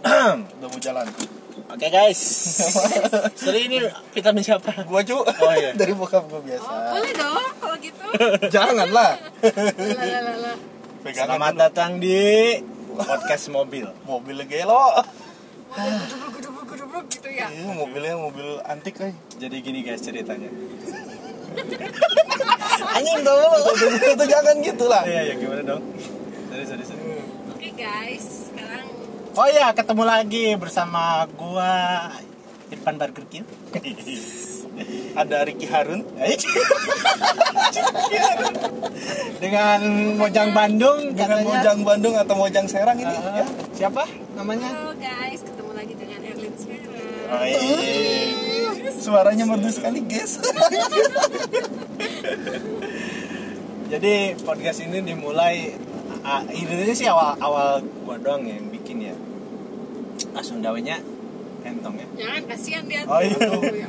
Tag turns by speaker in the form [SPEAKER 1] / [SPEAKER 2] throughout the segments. [SPEAKER 1] Bang.
[SPEAKER 2] udah mau jalan
[SPEAKER 1] Oke guys. Jadi ini vitamin siapa?
[SPEAKER 2] gua cu
[SPEAKER 1] Oh, iya.
[SPEAKER 2] dari bokap gua
[SPEAKER 3] Oh,
[SPEAKER 2] biasa
[SPEAKER 3] boleh dong kalau gitu.
[SPEAKER 2] janganlah
[SPEAKER 3] Lah, lah, lah, lah.
[SPEAKER 2] pegangan
[SPEAKER 1] Selamat
[SPEAKER 2] dulu.
[SPEAKER 1] datang di podcast mobil.
[SPEAKER 2] mobil gelo
[SPEAKER 3] Mobil gudubruk, gudubruk, gudubruk gitu ya.
[SPEAKER 2] iya mobilnya mobil antik eh
[SPEAKER 1] Jadi gini guys ceritanya. Anjing dulu.
[SPEAKER 2] itu jangan gitu lah
[SPEAKER 1] Iya ya gimana dong? Sorry, sorry, sorry.
[SPEAKER 3] Oke guys, sekarang
[SPEAKER 1] Oh iya, ketemu lagi bersama gua Irfan Burger King.
[SPEAKER 2] ada Ricky Harun
[SPEAKER 1] Eh? Dengan Mojang Bandung
[SPEAKER 2] dengan
[SPEAKER 1] katanya.
[SPEAKER 2] Mojang Bandung atau Mojang Serang ini
[SPEAKER 1] Ah,
[SPEAKER 2] ya
[SPEAKER 1] siapa namanya?
[SPEAKER 3] halo guys, ketemu lagi dengan Erlin Sera.
[SPEAKER 1] Oh, iya.
[SPEAKER 2] suaranya merdu sekali guys
[SPEAKER 1] Jadi podcast ini dimulai a- intinya sih awal awal gua doang yang bikin ya. Asundawanya entong ya.
[SPEAKER 3] Jangan kan? kasihan dia.
[SPEAKER 1] Oh, iya.
[SPEAKER 3] Aduh, ya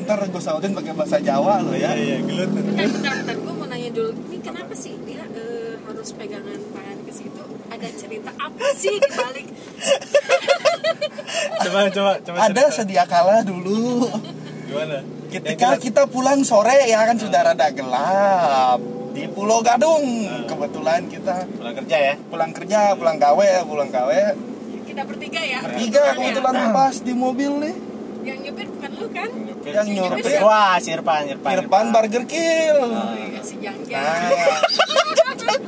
[SPEAKER 2] atau ntar gue sautin pakai bahasa Jawa lo ya
[SPEAKER 1] iya gelut.
[SPEAKER 3] Bentar, bentar, bentar. Gue mau nanya dulu. Ini kenapa sih dia eh, harus pegangan tangan ke situ? Ada cerita apa sih di balik?
[SPEAKER 1] coba coba coba.
[SPEAKER 2] ada
[SPEAKER 1] cerita.
[SPEAKER 2] sedia kala dulu
[SPEAKER 1] gimana?
[SPEAKER 2] ketika
[SPEAKER 1] Yang
[SPEAKER 2] kita pulang sore ya kan sudah rada gelap di Pulau Gadung
[SPEAKER 1] Ah.
[SPEAKER 2] kebetulan kita
[SPEAKER 1] pulang kerja ya.
[SPEAKER 2] pulang kerja pulang gawe pulang gawe
[SPEAKER 3] Kita bertiga ya.
[SPEAKER 1] Iya.
[SPEAKER 2] tiga
[SPEAKER 3] Bukan ya?
[SPEAKER 2] kebetulan pas di mobil nih
[SPEAKER 3] Yang nyepir bukan lu kan?
[SPEAKER 2] Yang
[SPEAKER 3] nyuruh.
[SPEAKER 1] nyurupin. Wah, Ah, si Irfan, Irfan.
[SPEAKER 2] Irfan Burger Kill
[SPEAKER 1] Ah.
[SPEAKER 3] Oh, iya, si Jangga.
[SPEAKER 2] nah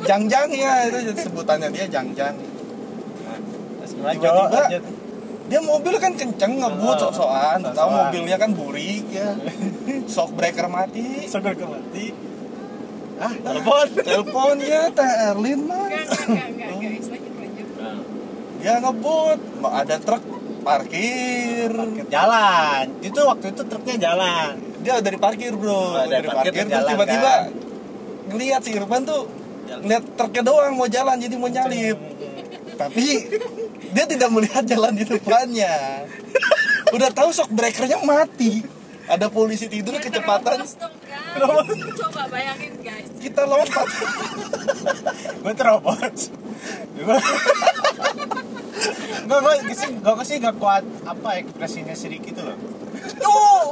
[SPEAKER 2] jangjang ya itu sebutannya dia jangjang
[SPEAKER 1] Terus gimana, Jo?
[SPEAKER 2] Tiba-tiba-
[SPEAKER 1] Lanjut.
[SPEAKER 2] dia mobil kan kenceng ngebut
[SPEAKER 1] Oh,
[SPEAKER 2] sok-sokan tahu
[SPEAKER 1] sok-sokan.
[SPEAKER 2] mobilnya kan burik ya shock breaker mati
[SPEAKER 1] Sogor ke mati. Ah, telepon.
[SPEAKER 2] teleponnya ya, Teh Erlin mah
[SPEAKER 3] Enggak, enggak, enggak, enggak, guys. Lanjut, lanjut.
[SPEAKER 1] Nah,
[SPEAKER 2] dia ngebut mau ada truk parkir
[SPEAKER 1] parkir jalan. Itu waktu itu truknya jalan.
[SPEAKER 2] dia dari parkir bro
[SPEAKER 1] Oh, dari
[SPEAKER 2] dari
[SPEAKER 1] parkir
[SPEAKER 2] parkir
[SPEAKER 1] ke
[SPEAKER 2] terus
[SPEAKER 1] jalan,
[SPEAKER 2] tiba-tiba
[SPEAKER 1] kan?
[SPEAKER 2] ngeliat si Irfan tuh
[SPEAKER 1] Jalan.
[SPEAKER 2] ngeliat truknya doang mau jalan jadi mau nyalip tapi dia tidak melihat jalan di depannya udah tahu shock breakernya mati ada polisi tidur
[SPEAKER 3] Ya,
[SPEAKER 2] kecepatan
[SPEAKER 3] terobos dong, guys. Coba bayangin guys.
[SPEAKER 2] kita lompat
[SPEAKER 1] gue terobos gue gue gue sih gue sih gak kuat apa ekspresinya sedikit itu loh
[SPEAKER 2] tuh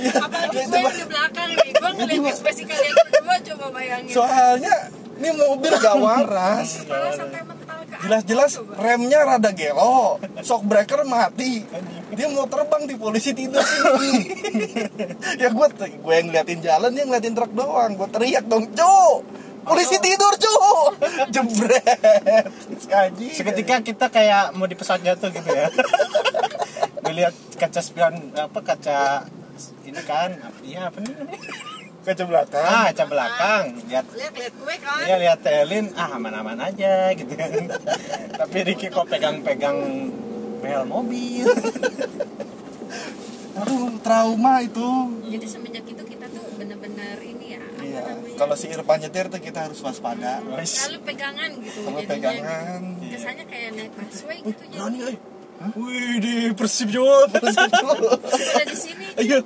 [SPEAKER 3] Apalagi
[SPEAKER 2] Ya,
[SPEAKER 3] gue
[SPEAKER 2] coba.
[SPEAKER 3] yang di belakang nih. Gue ngeliat
[SPEAKER 2] Coba.
[SPEAKER 3] ekspresi kalian berdua coba bayangin.
[SPEAKER 2] soalnya ini mobil gak waras
[SPEAKER 3] Kepala sampai mental ke atas,
[SPEAKER 2] jelas-jelas
[SPEAKER 3] coba.
[SPEAKER 2] remnya rada gelo shock breaker mati dia mau terbang di polisi tidur sini ya gue gue yang ngeliatin jalan dia ngeliatin truk doang gue teriak dong cu polisi tidur cu jebret Si anjing.
[SPEAKER 1] seketika kita kayak mau di pesawat jatuh gitu ya melihat kaca spion apa kaca ini kan iya apa nih namanya
[SPEAKER 2] kaca belakang
[SPEAKER 1] ah kaca belakang lihat
[SPEAKER 3] lihat lihat gue kan
[SPEAKER 1] Iya lihat Telin ah aman-aman aja gitu kan. Tapi Ricky kok pegang-pegang bel mobil.
[SPEAKER 2] aduh trauma itu
[SPEAKER 3] jadi semenjak itu kita tuh bener-bener ini ya apa
[SPEAKER 2] iya
[SPEAKER 3] namanya
[SPEAKER 2] kalau si Irfan nyetir tuh kita harus waspada
[SPEAKER 3] selalu pegangan gitu
[SPEAKER 2] kalau
[SPEAKER 3] jadinya.
[SPEAKER 2] pegangan iya.
[SPEAKER 3] kesannya kayak naik busway gitu jadi
[SPEAKER 1] eh. Wih di Persib Jawa.
[SPEAKER 3] kita di sini
[SPEAKER 1] Ayo.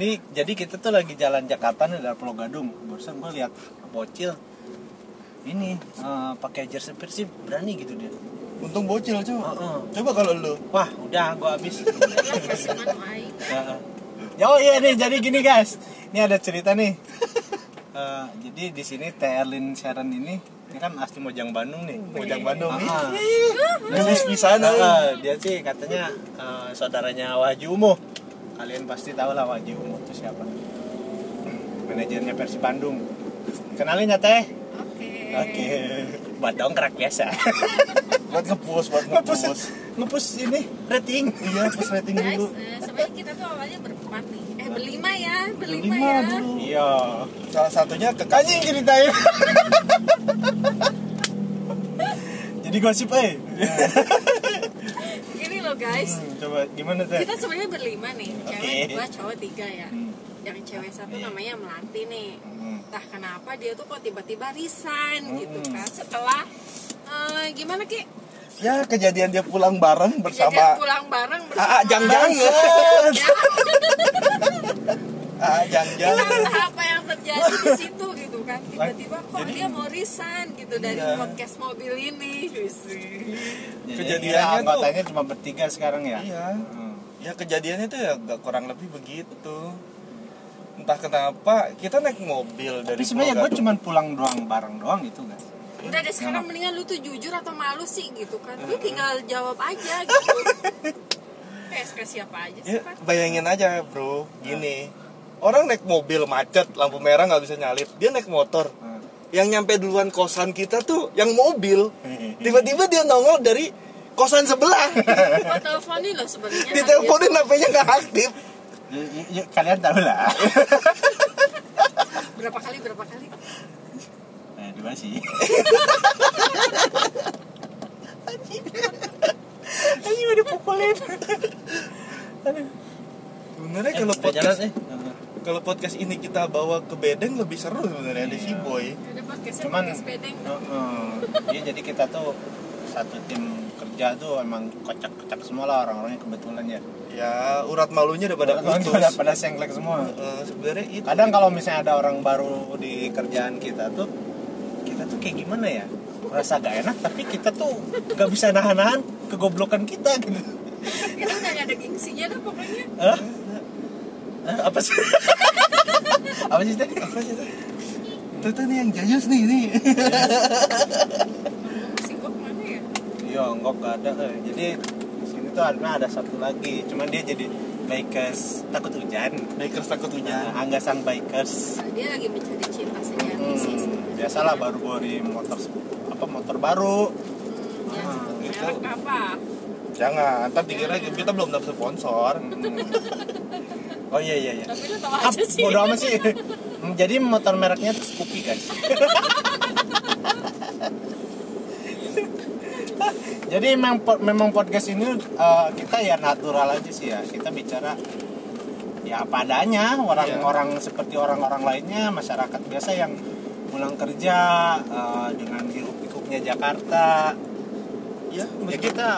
[SPEAKER 1] Nih, jadi kita tuh lagi jalan Jakarta nih dari Pulau Gadung. Barusan gue lihat bocil ini eh, pakai jersey Persib berani gitu dia.
[SPEAKER 2] untung bocil cu
[SPEAKER 1] Heeh.
[SPEAKER 2] coba kalau lu
[SPEAKER 1] Wah, udah gue habis.
[SPEAKER 3] lah masih manu aing
[SPEAKER 1] Heeh. Ya, oh iya nih, jadi gini guys. Ini ada cerita nih. Eh, jadi di sini Terlin Sharon ini ini kan asli Mojang Bandung nih.
[SPEAKER 2] Mojang Bandung
[SPEAKER 1] Ah.
[SPEAKER 2] gelis pisan
[SPEAKER 1] Nah,
[SPEAKER 2] euy.
[SPEAKER 1] eh, dia sih katanya eh, saudaranya Wahji Umo. Kalian pasti tahu lah Wahji Umo itu siapa. Manajernya Persi Bandung. Kenalin ya teh.
[SPEAKER 3] oke
[SPEAKER 1] Oke. Buat dongkrak biasa.
[SPEAKER 2] buat ngepus buat ngepus
[SPEAKER 1] Ngepus ngepus ini rating.
[SPEAKER 2] iya pas rating
[SPEAKER 3] guys
[SPEAKER 2] dulu
[SPEAKER 3] eh, sebenarnya kita tuh awalnya berempat nih eh berlima ya berlima,
[SPEAKER 2] lima
[SPEAKER 3] ya
[SPEAKER 2] dulu
[SPEAKER 1] Iya.
[SPEAKER 2] salah satunya ke
[SPEAKER 1] Anjing ceritain. Jadi gosip eh.
[SPEAKER 3] gini loh guys
[SPEAKER 1] Hmm, Coba gimana teh?
[SPEAKER 3] kita sebenarnya berlima nih cewek
[SPEAKER 1] Oke.
[SPEAKER 3] dua cowok tiga ya yang cewek satu
[SPEAKER 2] Iya.
[SPEAKER 3] namanya Melati nih
[SPEAKER 2] Hmm.
[SPEAKER 3] entah kenapa dia tuh kok tiba-tiba resign gitu kan setelah eh, gimana ki
[SPEAKER 2] ya kejadian dia pulang bareng
[SPEAKER 3] Jajan
[SPEAKER 2] bersama Ah,
[SPEAKER 3] pulang bareng bersama
[SPEAKER 2] Aa Jang Jang
[SPEAKER 3] Ya,
[SPEAKER 2] Aa Jang
[SPEAKER 3] kita
[SPEAKER 2] Ah, Jang
[SPEAKER 3] Iya. entah apa yang terjadi di situ gitu kan tiba-tiba kok dia mau resign gitu dari
[SPEAKER 2] Iya.
[SPEAKER 3] podcast mobil ini
[SPEAKER 2] Kejadiannya tuh-
[SPEAKER 1] anggotannya cuma bertiga sekarang ya
[SPEAKER 2] Iya.
[SPEAKER 1] Hmm.
[SPEAKER 2] ya kejadiannya tuh ya nggak kurang lebih begitu entah kenapa kita naik mobil dari
[SPEAKER 1] tapi sebenarnya gue
[SPEAKER 2] Purwokerto.
[SPEAKER 1] cuma pulang doang bareng doang gitu guys
[SPEAKER 3] udah deh sekarang mendingan lu tuh jujur atau malu sih gitu kan
[SPEAKER 2] Iya.
[SPEAKER 3] lu tinggal jawab aja gitu kayak suka siapa aja sih
[SPEAKER 2] ya,
[SPEAKER 3] Pak.
[SPEAKER 2] bayangin aja bro gini orang naik mobil macet lampu merah nggak bisa nyalip dia naik motor
[SPEAKER 1] Hmm.
[SPEAKER 2] yang nyampe duluan kosan kita tuh yang mobil tiba-tiba dia nongol dari kosan sebelah
[SPEAKER 3] gua teleponin lo sebenarnya
[SPEAKER 2] diteleponin HP-nya nggak aktif
[SPEAKER 1] Ya, ya, ya, kalian tahu lah
[SPEAKER 3] Iya, berapa kali berapa kali
[SPEAKER 1] nah, dua sih
[SPEAKER 2] Anjing udah dipukulin Sebenarnya kalau
[SPEAKER 1] udah jalan
[SPEAKER 2] podcast
[SPEAKER 1] eh
[SPEAKER 2] kalau podcast ini kita bawa ke bedeng lebih seru sebenarnya di si boy.
[SPEAKER 3] udah podcastnya
[SPEAKER 1] cuman
[SPEAKER 3] podcast bedeng
[SPEAKER 1] Heeh. Iya, jadi kita tuh satu tim kerja tuh emang kocak-kocak semua lah orang-orangnya kebetulan ya
[SPEAKER 2] Ya urat malunya udah pada
[SPEAKER 1] Orang-orang
[SPEAKER 2] putus.
[SPEAKER 1] pada, pada sengklek semua
[SPEAKER 2] Eh, sebenarnya itu.
[SPEAKER 1] kadang kalau misalnya ada orang baru di kerjaan kita tuh kita tuh kayak gimana ya rasa gak enak tapi kita tuh gak bisa nahan-nahan kegoblokan kita gitu
[SPEAKER 3] kita udah gak ada gengsinya dah pokoknya
[SPEAKER 1] Hah? Hah, apa sih apa sih Teh?
[SPEAKER 2] Tuh, tuh, nih yang jayus nih ini.
[SPEAKER 3] si gua kemana ya
[SPEAKER 1] iya nggak nggak ada eh. jadi di sini tuh ada ada satu lagi cuman dia jadi bikers takut hujan
[SPEAKER 2] Bakers takut
[SPEAKER 1] Nah,
[SPEAKER 2] hujan.
[SPEAKER 1] anggasan bikers
[SPEAKER 3] dia lagi mencari cinta sejati sih
[SPEAKER 1] hmm, biasalah baru beli motor apa motor baru
[SPEAKER 2] Ah,
[SPEAKER 3] Hmm, jangan sebut
[SPEAKER 2] gitu.
[SPEAKER 3] merek apa
[SPEAKER 2] Jangan, ntar dikira kita belum dapat sponsor.
[SPEAKER 1] Hmm. oh iya iya iya
[SPEAKER 3] tapi lu tau
[SPEAKER 1] Ah,
[SPEAKER 3] aja sih
[SPEAKER 1] bodo amat sih. Hmm, Jadi motor mereknya tuh Scoopy kan? guys. Jadi memang po- memang podcast ini eh, kita ya natural aja sih ya. Kita bicara ya apa adanya orang-orang seperti orang-orang lainnya masyarakat biasa yang pulang kerja eh, dengan hiruk pikuknya Jakarta
[SPEAKER 2] Ya,
[SPEAKER 1] ya
[SPEAKER 2] meskipun-
[SPEAKER 1] kita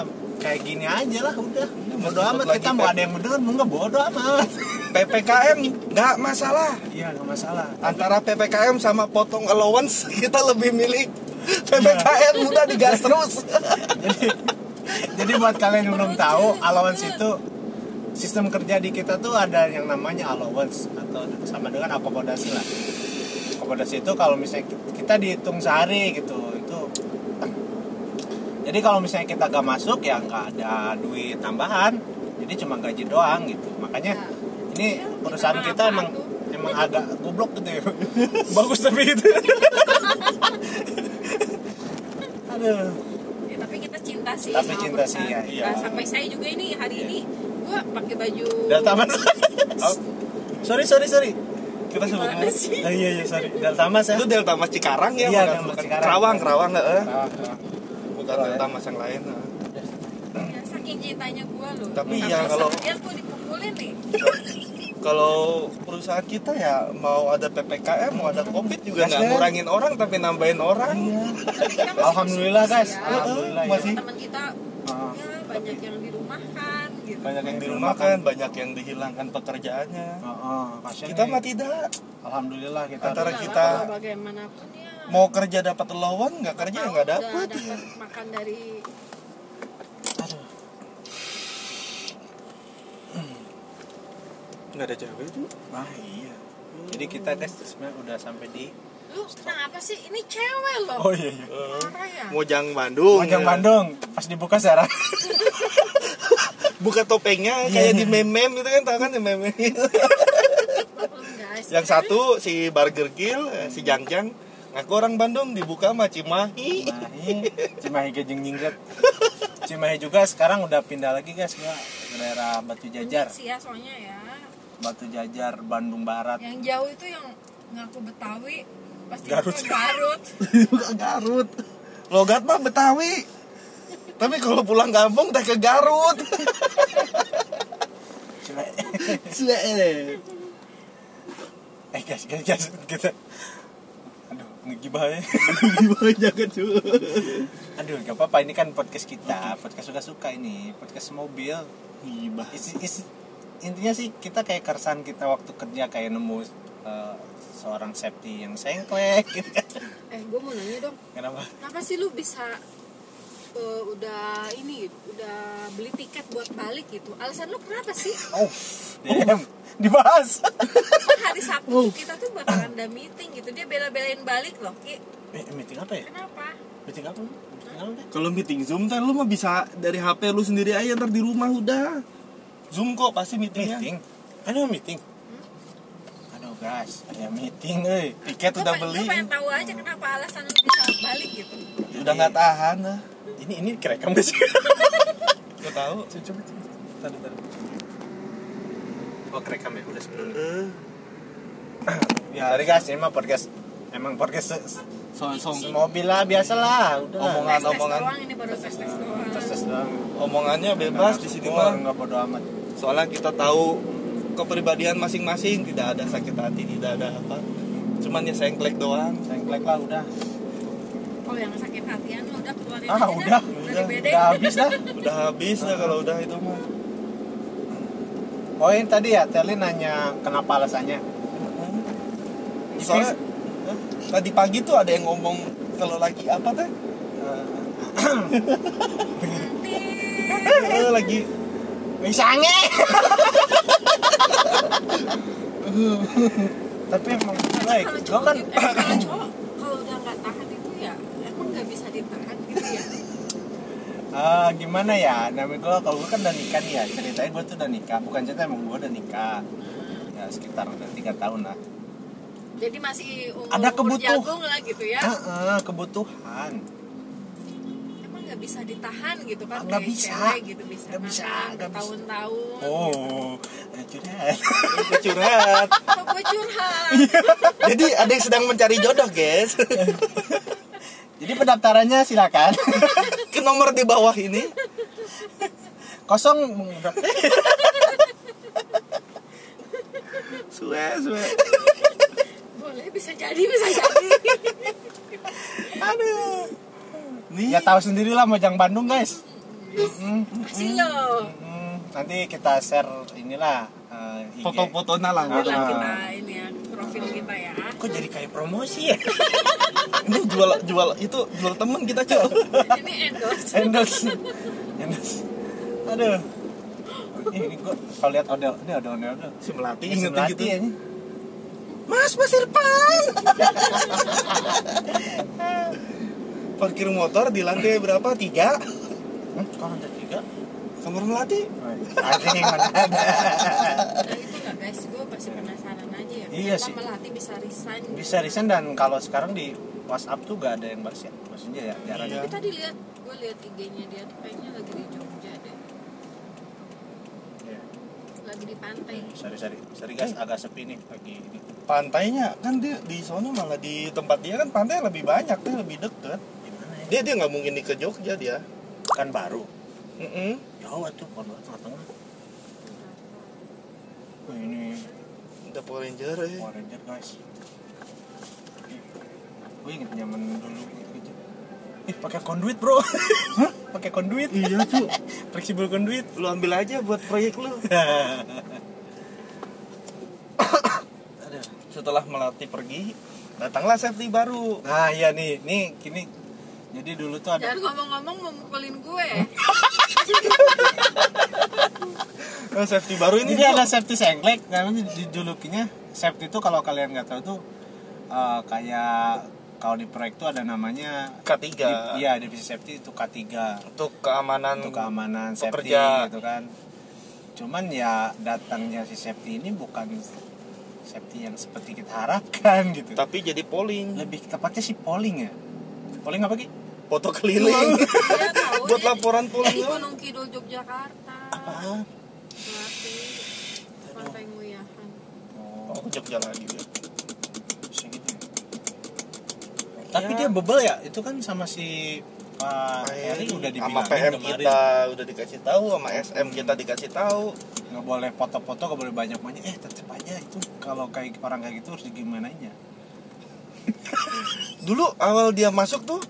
[SPEAKER 1] kayak gini aja lah udah bodo
[SPEAKER 2] meskipun
[SPEAKER 1] amat
[SPEAKER 2] lagi
[SPEAKER 1] kita mau
[SPEAKER 2] pe-
[SPEAKER 1] ada yang mendengar mau nggak bodo amat
[SPEAKER 2] PPKM nggak masalah.
[SPEAKER 1] iya nggak masalah
[SPEAKER 2] Antara PPKM sama potong allowance kita lebih milih PPKM udah digas terus.
[SPEAKER 1] Jadi buat kalian yang belum tahu, allowance itu sistem kerja di kita tuh ada yang namanya allowance atau sama dengan akomodasi lah. Akomodasi itu kalau misalnya ki- kita dihitung sehari gitu, itu jadi kalau misalnya kita gak masuk ya nggak ada duit tambahan, jadi cuma gaji doang gitu. Makanya ini perusahaan kita emang emang agak goblok gitu ya. Bagus tapi gitu. Aduh.
[SPEAKER 3] Ya, tapi kita cinta sih
[SPEAKER 1] Tapi
[SPEAKER 3] sama
[SPEAKER 1] cinta sih,
[SPEAKER 3] perusahaan.
[SPEAKER 1] iya,
[SPEAKER 3] Nah,
[SPEAKER 1] iya.
[SPEAKER 3] sampai saya juga ini hari ini gua pakai baju
[SPEAKER 1] Daltaman. Oh, sorry sorry sorry.
[SPEAKER 2] Kita sebut
[SPEAKER 3] Gimana
[SPEAKER 2] merek.
[SPEAKER 3] sih?
[SPEAKER 1] Oh, iya iya sorry. Daltaman ya.
[SPEAKER 2] Itu Delta Mas Cikarang ya,
[SPEAKER 1] Iya,
[SPEAKER 2] bukan,
[SPEAKER 1] Delta Mas
[SPEAKER 2] bukan
[SPEAKER 1] Cikarang. Iya.
[SPEAKER 2] Kerawang, Kerawang heeh. Bukan
[SPEAKER 1] Kerawang,
[SPEAKER 2] Delta
[SPEAKER 1] ya.
[SPEAKER 2] Mas yang lain. heeh.
[SPEAKER 3] Ya, saking cintanya gua loh
[SPEAKER 2] Tapi
[SPEAKER 3] Sampai
[SPEAKER 2] iya, kalau-
[SPEAKER 3] sambil gua dipukulin nih
[SPEAKER 2] Kalau perusahaan kita ya mau ada PPKM, mau ada Covid juga nggak
[SPEAKER 1] Yes, kan?
[SPEAKER 2] ngurangin orang tapi nambahin orang.
[SPEAKER 3] Tapi kita masih
[SPEAKER 1] Alhamdulillah
[SPEAKER 3] bersyukur
[SPEAKER 1] guys.
[SPEAKER 3] sih ya.
[SPEAKER 1] Alhamdulillah.
[SPEAKER 2] Masih-
[SPEAKER 3] teman kita
[SPEAKER 1] Ah.
[SPEAKER 3] ya banyak yang dirumahkan gitu
[SPEAKER 2] Banyak yang dirumahkan, banyak yang dihilangkan pekerjaannya.
[SPEAKER 1] Oh, oh, kasihan
[SPEAKER 2] Kita
[SPEAKER 1] nih.
[SPEAKER 2] mah tidak
[SPEAKER 1] Alhamdulillah kita.
[SPEAKER 2] Antara
[SPEAKER 3] Nah,
[SPEAKER 2] kita
[SPEAKER 3] walau bagaimanapun ya
[SPEAKER 2] mau kerja dapat lawan, nggak kerja ya
[SPEAKER 3] mau
[SPEAKER 2] nggak
[SPEAKER 3] udah
[SPEAKER 2] dapat.
[SPEAKER 3] dapat makan dari
[SPEAKER 1] Aduh.
[SPEAKER 2] Nggak ada cewek itu.
[SPEAKER 1] Ah iya. Jadi kita guys sebenarnya udah sampai di
[SPEAKER 3] lu kenapa sih ini cewek loh
[SPEAKER 1] Oh iya iya.
[SPEAKER 3] Parah ya
[SPEAKER 2] Mojang Bandung.
[SPEAKER 1] Panjang
[SPEAKER 2] ya.
[SPEAKER 1] Bandung pas dibuka sekarang.
[SPEAKER 2] Buka topengnya kayak di meme-meme gitu kan, tau kan di meme
[SPEAKER 3] Maklum, guys
[SPEAKER 2] Yang satu si Burger Kill, eh, si Jangjang ngaku orang Bandung dibuka sama Cimahi.
[SPEAKER 1] Cimahi, Cimahi Gejeng Jingret. Cimahi juga sekarang udah pindah lagi guys gua ke daerah Batu Jajar.
[SPEAKER 3] sih ya soalnya ya
[SPEAKER 1] Batu Jajar Bandung Barat.
[SPEAKER 3] yang jauh itu yang ngaku Betawi pasti
[SPEAKER 1] Garut.
[SPEAKER 3] itu Garut
[SPEAKER 2] Bukan Garut. Logat mah Betawi. Tapi kalau pulang kampung teh ke Garut.
[SPEAKER 1] Cimahi.
[SPEAKER 2] Sle.
[SPEAKER 1] Eh guys, guys, guys, kita Aduh, ngegibah ya
[SPEAKER 2] Gimana jangan cuy.
[SPEAKER 1] Aduh, gak apa-apa, ini kan podcast kita Podcast suka-suka ini, podcast mobil
[SPEAKER 2] Gibah.
[SPEAKER 1] Isi- isi- Intinya sih, kita kayak keresahan kita waktu kerja Kayak nemu eh, seorang safety yang sengklek gitu kan
[SPEAKER 3] eh gue mau nanya dong
[SPEAKER 1] kenapa
[SPEAKER 3] kenapa sih lu bisa eh, udah ini gitu, udah beli tiket buat balik gitu alasan lu kenapa sih
[SPEAKER 1] oh DM dibahas
[SPEAKER 3] kan hari Sabtu kita tuh bakalan ada meeting gitu dia bela-belain balik loh Ki
[SPEAKER 1] Eh, meeting apa ya
[SPEAKER 3] kenapa
[SPEAKER 1] meeting apa meeting apa Dek?
[SPEAKER 2] Kalau meeting Zoom ntar lu mah bisa dari HP lu sendiri aja ntar di rumah udah. Zoom kok pasti meetingnya.
[SPEAKER 1] meeting ada meeting aduh guys ada meeting eh
[SPEAKER 2] Tiket
[SPEAKER 3] Gua
[SPEAKER 2] udah
[SPEAKER 3] pengen-
[SPEAKER 2] beli.
[SPEAKER 3] gua pengen tahu aja kenapa alasan lu bisa balik gitu
[SPEAKER 2] Udah nggak tahan ah. lah.
[SPEAKER 1] ini ini kerekam gak sih
[SPEAKER 2] Gak tahu.
[SPEAKER 1] coba coba tadi tadi oh kerekam ya udah sebelumnya ya sorry guys ini mah podcast emang podcast se- se-
[SPEAKER 2] Soal song
[SPEAKER 1] mobil lah biasa lah udah
[SPEAKER 2] Omongan.
[SPEAKER 3] tes tes
[SPEAKER 2] omongan.
[SPEAKER 3] doang ini baru tes tes doang
[SPEAKER 1] Terus- terus doang
[SPEAKER 2] omongannya bebas di sini mah.
[SPEAKER 1] nggak bodo amat
[SPEAKER 2] Soalnya kita tahu kepribadian masing-masing tidak ada sakit hati tidak ada apa. Cuman ya sengklek doang.
[SPEAKER 1] sengklek lah udah
[SPEAKER 3] kalau yang sakit hatian lu udah keluarin
[SPEAKER 1] ah
[SPEAKER 3] aja
[SPEAKER 1] udah
[SPEAKER 3] dah.
[SPEAKER 1] udah
[SPEAKER 3] dibedain.
[SPEAKER 1] udah habis dah
[SPEAKER 2] Udah habis lah kalau udah itu mah.
[SPEAKER 1] oh ini tadi ya Terli nanya kenapa alasannya
[SPEAKER 2] Soalnya
[SPEAKER 1] ya?
[SPEAKER 2] eh, tadi pagi tuh ada yang ngomong kalau lagi apa teh? Eh, lagi
[SPEAKER 1] misalnya tapi emang baik
[SPEAKER 3] kalau
[SPEAKER 1] gua
[SPEAKER 3] cowok
[SPEAKER 1] kan
[SPEAKER 3] gitu- eh, kalau cowok kalau udah nggak tahan itu ya emang nggak bisa ditahan gitu ya
[SPEAKER 1] Eh, gimana ya namanya gue kalau gue kan udah nikah nih ya ceritanya gue tuh udah nikah bukan cerita emang gue udah nikah ya sekitar udah tiga tahun lah
[SPEAKER 3] jadi masih umur
[SPEAKER 1] Ada
[SPEAKER 3] umur
[SPEAKER 1] kebutuh. Ah.
[SPEAKER 3] jagung lah gitu ya
[SPEAKER 1] Heeh, kebutuhan
[SPEAKER 3] emang nggak bisa ditahan gitu kan
[SPEAKER 1] Nggak
[SPEAKER 3] kayak
[SPEAKER 1] bisa.
[SPEAKER 3] cewek gitu bisa
[SPEAKER 1] Nggak bisa,
[SPEAKER 3] nahan
[SPEAKER 1] nggak bisa.
[SPEAKER 3] bertahun-tahun
[SPEAKER 1] oh eh, curhat
[SPEAKER 2] curhat.
[SPEAKER 3] kok gue curhat
[SPEAKER 2] Jadi ada yang sedang mencari jodoh, guys.
[SPEAKER 1] jadi pendaftarannya silakan
[SPEAKER 2] Ke nomor di bawah ini.
[SPEAKER 1] kosong mengundak
[SPEAKER 2] Suwe, suwe.
[SPEAKER 3] boleh bisa jadi bisa jadi
[SPEAKER 2] Aduh. Nih.
[SPEAKER 1] ya tahu sendiri lah Mojang Bandung guys Mm,
[SPEAKER 3] masih lo
[SPEAKER 1] mm, nanti kita share inilah eh, IG.
[SPEAKER 2] Foto-fotonya lah.
[SPEAKER 1] Ah.
[SPEAKER 3] Inilah kita ini ya profil kita ya
[SPEAKER 1] kok jadi kayak promosi ya
[SPEAKER 2] Ini jual jual itu jual temen kita, Cok.
[SPEAKER 3] ini endorse
[SPEAKER 1] endorse endorse aduh Ih, ini gue kalau lihat odel ini ada odel odel
[SPEAKER 2] Si Melati
[SPEAKER 1] Ini
[SPEAKER 2] ingetin
[SPEAKER 1] Melati
[SPEAKER 2] gitu.
[SPEAKER 1] ya, ini.
[SPEAKER 2] Mas, Mas Irfan. Parkir motor di lantai berapa? Tiga.
[SPEAKER 1] Hmm, kok ada tiga?
[SPEAKER 2] Kamar Melati.
[SPEAKER 1] Anjing mana ada?
[SPEAKER 3] nah itu nggak guys gue masih penasaran aja ya
[SPEAKER 1] Iya
[SPEAKER 3] kenapa
[SPEAKER 1] sih.
[SPEAKER 3] melati bisa resign
[SPEAKER 1] Bisa resign dan kalau sekarang di WhatsApp tuh gak ada yang balas ya. Maksudnya ya jarang.
[SPEAKER 2] Iya.
[SPEAKER 3] tapi tadi lihat gue lihat IG-nya dia tuh kayaknya lagi di Jogja deh
[SPEAKER 1] Iya.
[SPEAKER 3] lagi di pantai
[SPEAKER 1] Sorry sorry, sorry guys, agak sepi nih lagi ini.
[SPEAKER 2] Pantainya kan dia di sono malah di tempat dia kan pantai lebih banyak, dia lebih deket.
[SPEAKER 1] Gimana ya?
[SPEAKER 2] Dia dia nggak mungkin di ke Jogja dia.
[SPEAKER 1] Kan baru.
[SPEAKER 2] Mm-mm.
[SPEAKER 1] Jawa tuh kalau tengah-tengah. Wih, ini
[SPEAKER 2] Udah Power Ranger eh.
[SPEAKER 1] Power Ranger guys. Gue inget zaman dulu gitu. Ih, pakai conduit, Bro. Hah? pakai conduit.
[SPEAKER 2] Iya cu,
[SPEAKER 1] Fleksibel conduit.
[SPEAKER 2] lu ambil aja buat proyek lu.
[SPEAKER 1] Aduh.
[SPEAKER 2] Setelah melatih pergi, datanglah safety baru.
[SPEAKER 1] Nah iya nih, nih gini. Jadi dulu tuh ada.
[SPEAKER 3] jangan ngomong-ngomong mau mukulin gue
[SPEAKER 2] Nah, safety baru ini
[SPEAKER 1] Jadi
[SPEAKER 2] dia
[SPEAKER 1] ada safety sengklek, namanya dijulukinya safety itu kalau kalian nggak tahu tuh eh, kayak kalau di proyek tuh ada namanya
[SPEAKER 2] K3.
[SPEAKER 1] di- Iya, divisi safety itu K3
[SPEAKER 2] Untuk keamanan
[SPEAKER 1] untuk keamanan safety
[SPEAKER 2] pekerja.
[SPEAKER 1] gitu kan. Cuman ya datangnya si safety ini bukan safety yang seperti kita harapkan gitu.
[SPEAKER 2] tapi jadi polling,
[SPEAKER 1] Lebih tepatnya si polling ya. Polling apa Ki?
[SPEAKER 2] foto keliling. Iya.
[SPEAKER 3] dia tahu
[SPEAKER 2] buat laporan polling
[SPEAKER 3] Iya, di
[SPEAKER 2] doang.
[SPEAKER 3] Gunung Kidul Yogyakarta
[SPEAKER 1] ya. Apaan?
[SPEAKER 3] melati pantai Nguyahan
[SPEAKER 1] Oh,
[SPEAKER 2] Oh, ke Jogja lagi dia.
[SPEAKER 1] bisa gitu ya. Tapi
[SPEAKER 2] Ya.
[SPEAKER 1] dia bebel ya, itu kan sama si Pak
[SPEAKER 2] Ah,
[SPEAKER 1] Eri udah
[SPEAKER 2] sama
[SPEAKER 1] dibilangin
[SPEAKER 2] PM
[SPEAKER 1] kemarin.
[SPEAKER 2] kita udah dikasih tahu sama SM kita dikasih tahu
[SPEAKER 1] nggak boleh foto-foto, nggak boleh banyak-banyak. Eh tetep aja itu kalau kayak orang kayak gitu harus digimanainnya.
[SPEAKER 2] dulu awal dia masuk tuh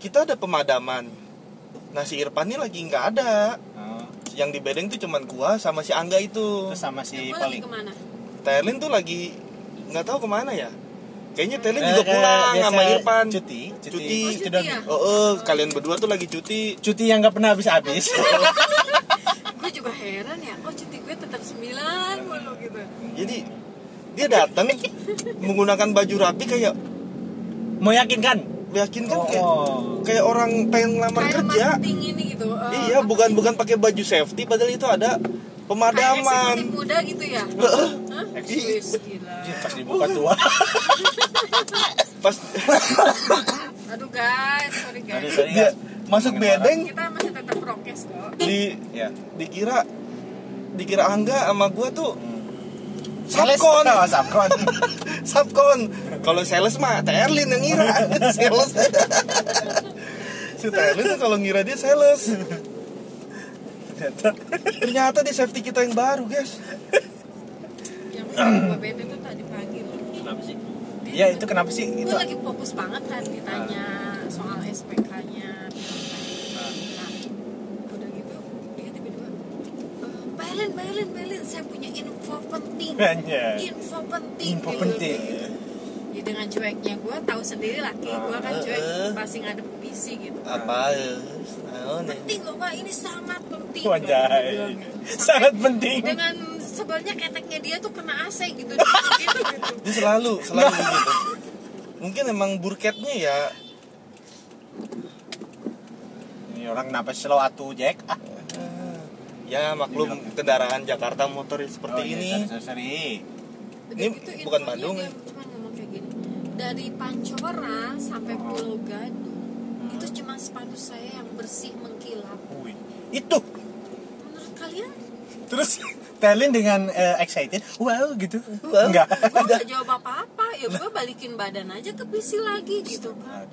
[SPEAKER 2] kita ada pemadaman nah si Irfan ini lagi nggak ada
[SPEAKER 1] Nah,
[SPEAKER 2] yang di bedeng tuh cuman gua sama si Angga itu
[SPEAKER 1] terus sama si
[SPEAKER 3] gue lagi
[SPEAKER 1] paling
[SPEAKER 3] kemana
[SPEAKER 2] Terlin tuh lagi nggak tahu kemana ya kayaknya Teli
[SPEAKER 1] Eh,
[SPEAKER 2] juga
[SPEAKER 1] kayak
[SPEAKER 2] pulang
[SPEAKER 1] biasa
[SPEAKER 2] sama Irfan
[SPEAKER 1] cuti
[SPEAKER 2] cuti,
[SPEAKER 3] Oh, cuti
[SPEAKER 1] sudah-
[SPEAKER 3] ya?
[SPEAKER 2] Oh, eh, kalian berdua tuh lagi cuti
[SPEAKER 1] cuti yang nggak pernah habis-habis
[SPEAKER 3] gue juga heran ya oh cuti gue tetap sembilan mulu gitu
[SPEAKER 2] jadi dia datang menggunakan baju rapi kayak
[SPEAKER 1] mau yakinkan
[SPEAKER 2] meyakinkan kayak
[SPEAKER 1] Oh.
[SPEAKER 2] kayak orang pengen ngelamar
[SPEAKER 3] kayak
[SPEAKER 2] kerja
[SPEAKER 3] marketing ini gitu eh,
[SPEAKER 2] iya
[SPEAKER 3] apa
[SPEAKER 2] bukan
[SPEAKER 3] sih?
[SPEAKER 2] bukan pakai baju safety padahal itu ada
[SPEAKER 3] Kayak
[SPEAKER 2] pemadaman
[SPEAKER 3] eksekutif muda gitu ya
[SPEAKER 2] Heeh.
[SPEAKER 3] Hah?
[SPEAKER 2] Iya.
[SPEAKER 3] Wis, gila
[SPEAKER 1] pas dibuka tua
[SPEAKER 2] pas
[SPEAKER 3] aduh guys sorry
[SPEAKER 1] Sorry,
[SPEAKER 3] guys
[SPEAKER 1] sorry,
[SPEAKER 2] dia
[SPEAKER 1] guys.
[SPEAKER 2] masuk
[SPEAKER 1] Ngomongin orang.
[SPEAKER 2] bedeng
[SPEAKER 3] kita masih tetap prokes kok
[SPEAKER 2] di
[SPEAKER 1] ya
[SPEAKER 2] dikira dikira angga sama gua tuh
[SPEAKER 1] Hmm.
[SPEAKER 2] Sapkon,
[SPEAKER 1] Sapkon Sapkon
[SPEAKER 2] Sapkon. Kalau sales mah Terlin yang ngira, sales. si Terlin tuh kalau ngira dia sales. Ternyata di safety kita yang baru, guys.
[SPEAKER 3] yang gue bete tuh tadi pagi loh
[SPEAKER 1] kenapa sih ya itu kenapa sih
[SPEAKER 3] gue
[SPEAKER 1] itu
[SPEAKER 3] lagi fokus banget kan ditanya soal SPK-nya nah udah gitu dia tiba-tiba "Eh, Mbak Ellen, Mbak Ellen, Mbak Ellen, saya punya info penting
[SPEAKER 1] Anjay.
[SPEAKER 3] info penting
[SPEAKER 1] Iya. info
[SPEAKER 3] gitu,
[SPEAKER 1] penting
[SPEAKER 3] gitu. ya dengan cueknya gue tahu sendiri laki gue kan cuek pasti ngadep PC gitu
[SPEAKER 2] Apa? eh, naon ya?
[SPEAKER 3] penting loh mbak ini sangat penting
[SPEAKER 1] Wajai.
[SPEAKER 3] Gua bilang gitu.
[SPEAKER 1] sangat
[SPEAKER 3] Sampai
[SPEAKER 1] penting
[SPEAKER 3] dengan sebelnya keteknya dia tuh kena AC gitu gitu, gitu.
[SPEAKER 2] Dia selalu, selalu gitu. Mungkin emang burketnya ya.
[SPEAKER 1] ini orang kenapa slow atuh Jack ah,
[SPEAKER 2] Ya maklum kendaraan Jakarta motor seperti
[SPEAKER 1] oh, iya,
[SPEAKER 2] ini.
[SPEAKER 1] sorry, sorry, sorry.
[SPEAKER 3] Udah
[SPEAKER 2] Ini bukan Bandung ya?
[SPEAKER 3] infonya gitu, Iya, dia cuma ngomong kayak gini dari Pancora sampai Pulau Gadung
[SPEAKER 2] Hmm.
[SPEAKER 3] itu cuma sepatu saya yang bersih mengkilap
[SPEAKER 1] Wih. itu
[SPEAKER 3] menurut kalian
[SPEAKER 1] terus Telin dengan eh, excited wow gitu
[SPEAKER 2] Wow.
[SPEAKER 1] enggak
[SPEAKER 3] gue gak jawab apa apa ya gue balikin badan aja ke PC lagi gitu kan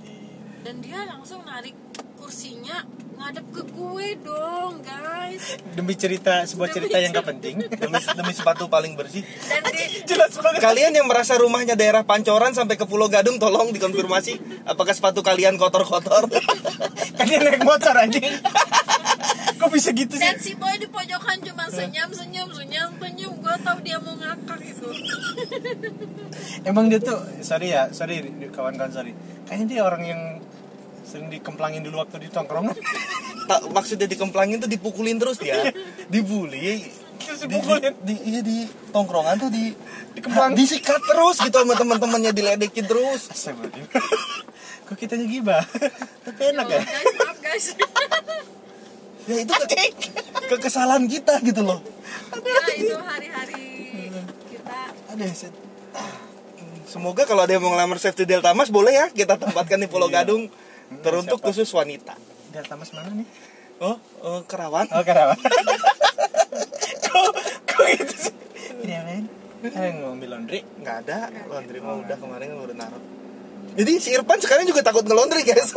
[SPEAKER 3] dan dia langsung narik kursinya ngadep ke gue dong guys
[SPEAKER 1] demi cerita sebuah
[SPEAKER 3] Demi
[SPEAKER 1] cerita yang gak penting
[SPEAKER 2] iya. Demi, demi sepatu paling bersih.
[SPEAKER 3] dan di
[SPEAKER 1] jelas banget
[SPEAKER 2] Kalian yang merasa rumahnya daerah Pancoran sampai ke Pulau Gadung tolong dikonfirmasi apakah sepatu kalian kotor-kotor.
[SPEAKER 1] kan dia naik motor aja kok bisa gitu
[SPEAKER 3] dan
[SPEAKER 1] sih
[SPEAKER 3] si boy di pojokan cuma
[SPEAKER 2] Eh.
[SPEAKER 3] senyum senyum senyum senyum gue tau dia mau ngakak gitu
[SPEAKER 1] emang dia tuh sorry ya sorry di- di- kawan-kawan sorry kayaknya dia orang yang sering dikemplangin dulu waktu di tongkrongan
[SPEAKER 2] tak maksudnya dikemplangin tuh dipukulin terus dia dibully
[SPEAKER 1] terus
[SPEAKER 2] di,
[SPEAKER 1] Iya, dipukulin
[SPEAKER 2] di, iya, di tongkrongan tuh di
[SPEAKER 1] Dikemplang.
[SPEAKER 2] disikat terus gitu sama teman-temannya diledekin terus
[SPEAKER 1] Astagfirullahaladzim kok kitanya gibah tapi enak ya
[SPEAKER 3] Oh, guys maaf guys
[SPEAKER 2] ya itu ke, kekesalan kita gitu loh
[SPEAKER 3] ya itu hari-hari kita
[SPEAKER 1] ada set
[SPEAKER 2] semoga kalau ada yang mau ngelamar safety Delta Mas boleh ya kita tempatkan di Pulau
[SPEAKER 1] Iya.
[SPEAKER 2] Gadung teruntuk
[SPEAKER 1] siapa?
[SPEAKER 2] khusus wanita
[SPEAKER 1] delta mas mana nih
[SPEAKER 2] oh eh, kerawan
[SPEAKER 1] oh kenapa kok kok gitu sih iya men ada yang mau ambil laundry
[SPEAKER 2] nggak ada laundry mah udah kemarin udah naruh jadi si Irfan sekarang juga takut ngelondri guys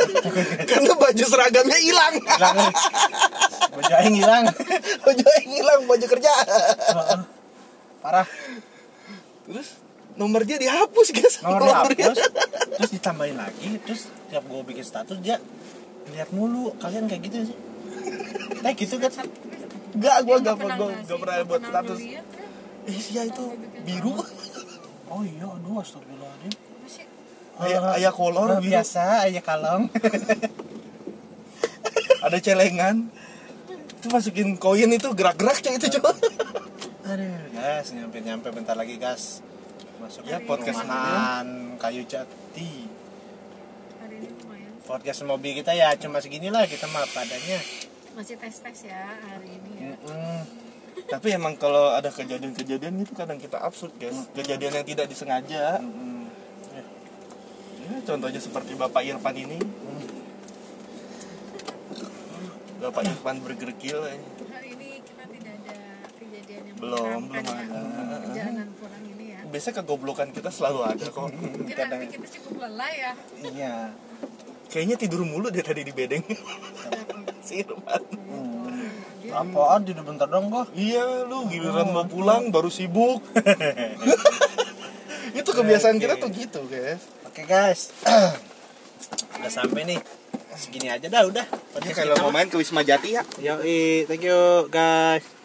[SPEAKER 2] karena baju seragamnya hilang
[SPEAKER 1] hilang nih. baju aing hilang
[SPEAKER 2] baju yang hilang baju kerja
[SPEAKER 1] Heeh. parah
[SPEAKER 2] terus nomor dia dihapus guys
[SPEAKER 1] nomor
[SPEAKER 2] Nomor dia.
[SPEAKER 1] dihapus terus ditambahin lagi terus tiap gue bikin status dia lihat mulu kalian kayak gitu sih kayak gitu kan
[SPEAKER 2] Enggak, gua
[SPEAKER 3] Nggak
[SPEAKER 2] enggak pernah gua
[SPEAKER 3] ngasih,
[SPEAKER 2] enggak pernah
[SPEAKER 3] nggak
[SPEAKER 2] buat
[SPEAKER 3] pernah
[SPEAKER 2] status.
[SPEAKER 3] ngeliat, ya.
[SPEAKER 2] Ih, ya itu biru.
[SPEAKER 1] oh iya aduh astagfirullahaladzim
[SPEAKER 3] Apa sih?
[SPEAKER 2] Ayah, ayah kolor gitu.
[SPEAKER 1] Luar
[SPEAKER 2] biru.
[SPEAKER 1] biasa ayah kalong
[SPEAKER 2] Ada celengan. Itu masukin koin itu gerak-gerak cuy itu coba.
[SPEAKER 1] aduh gas nyampe nyampe bentar lagi gas masuknya
[SPEAKER 3] Nyari
[SPEAKER 1] podcast
[SPEAKER 2] rumah.
[SPEAKER 1] perumahan kayu jati
[SPEAKER 3] hari ini lumayan
[SPEAKER 1] podcast mobil kita ya cuma seginilah kita mah padanya
[SPEAKER 3] masih tes tes ya hari ini
[SPEAKER 2] Iya.
[SPEAKER 3] ya
[SPEAKER 1] Mm-mm.
[SPEAKER 2] Tapi emang kalau ada kejadian-kejadian itu kadang kita absurd, guys. Hmm. Kejadian yang tidak disengaja. Eh,
[SPEAKER 1] Mm-mm.
[SPEAKER 2] Ya, contohnya seperti Bapak Irfan ini. Bapak Irfan bergergil. eh.
[SPEAKER 3] hari ini kita tidak ada kejadian yang
[SPEAKER 2] Belum,
[SPEAKER 3] menyeramkan
[SPEAKER 2] belum
[SPEAKER 3] ya.
[SPEAKER 2] ada.
[SPEAKER 3] perjalanan pulang ini ya
[SPEAKER 2] Biasanya kegoblokan kita selalu ada kok.
[SPEAKER 3] mungkin
[SPEAKER 1] kadang-
[SPEAKER 3] nanti kita cukup lelah ya
[SPEAKER 1] iya
[SPEAKER 2] Kayaknya tidur mulu dia tadi di bedeng. si Irfan.
[SPEAKER 3] Dia
[SPEAKER 1] apaan tidur bentar dong gua
[SPEAKER 2] Iya lu giliran mau pulang baru sibuk Itu kebiasaan
[SPEAKER 1] Oke.
[SPEAKER 2] kita tuh gitu guys
[SPEAKER 1] Oke guys, udah sampai nih. Segini aja dah udah.
[SPEAKER 2] main ke Wisma Jati ya
[SPEAKER 1] Yo, thank you guys.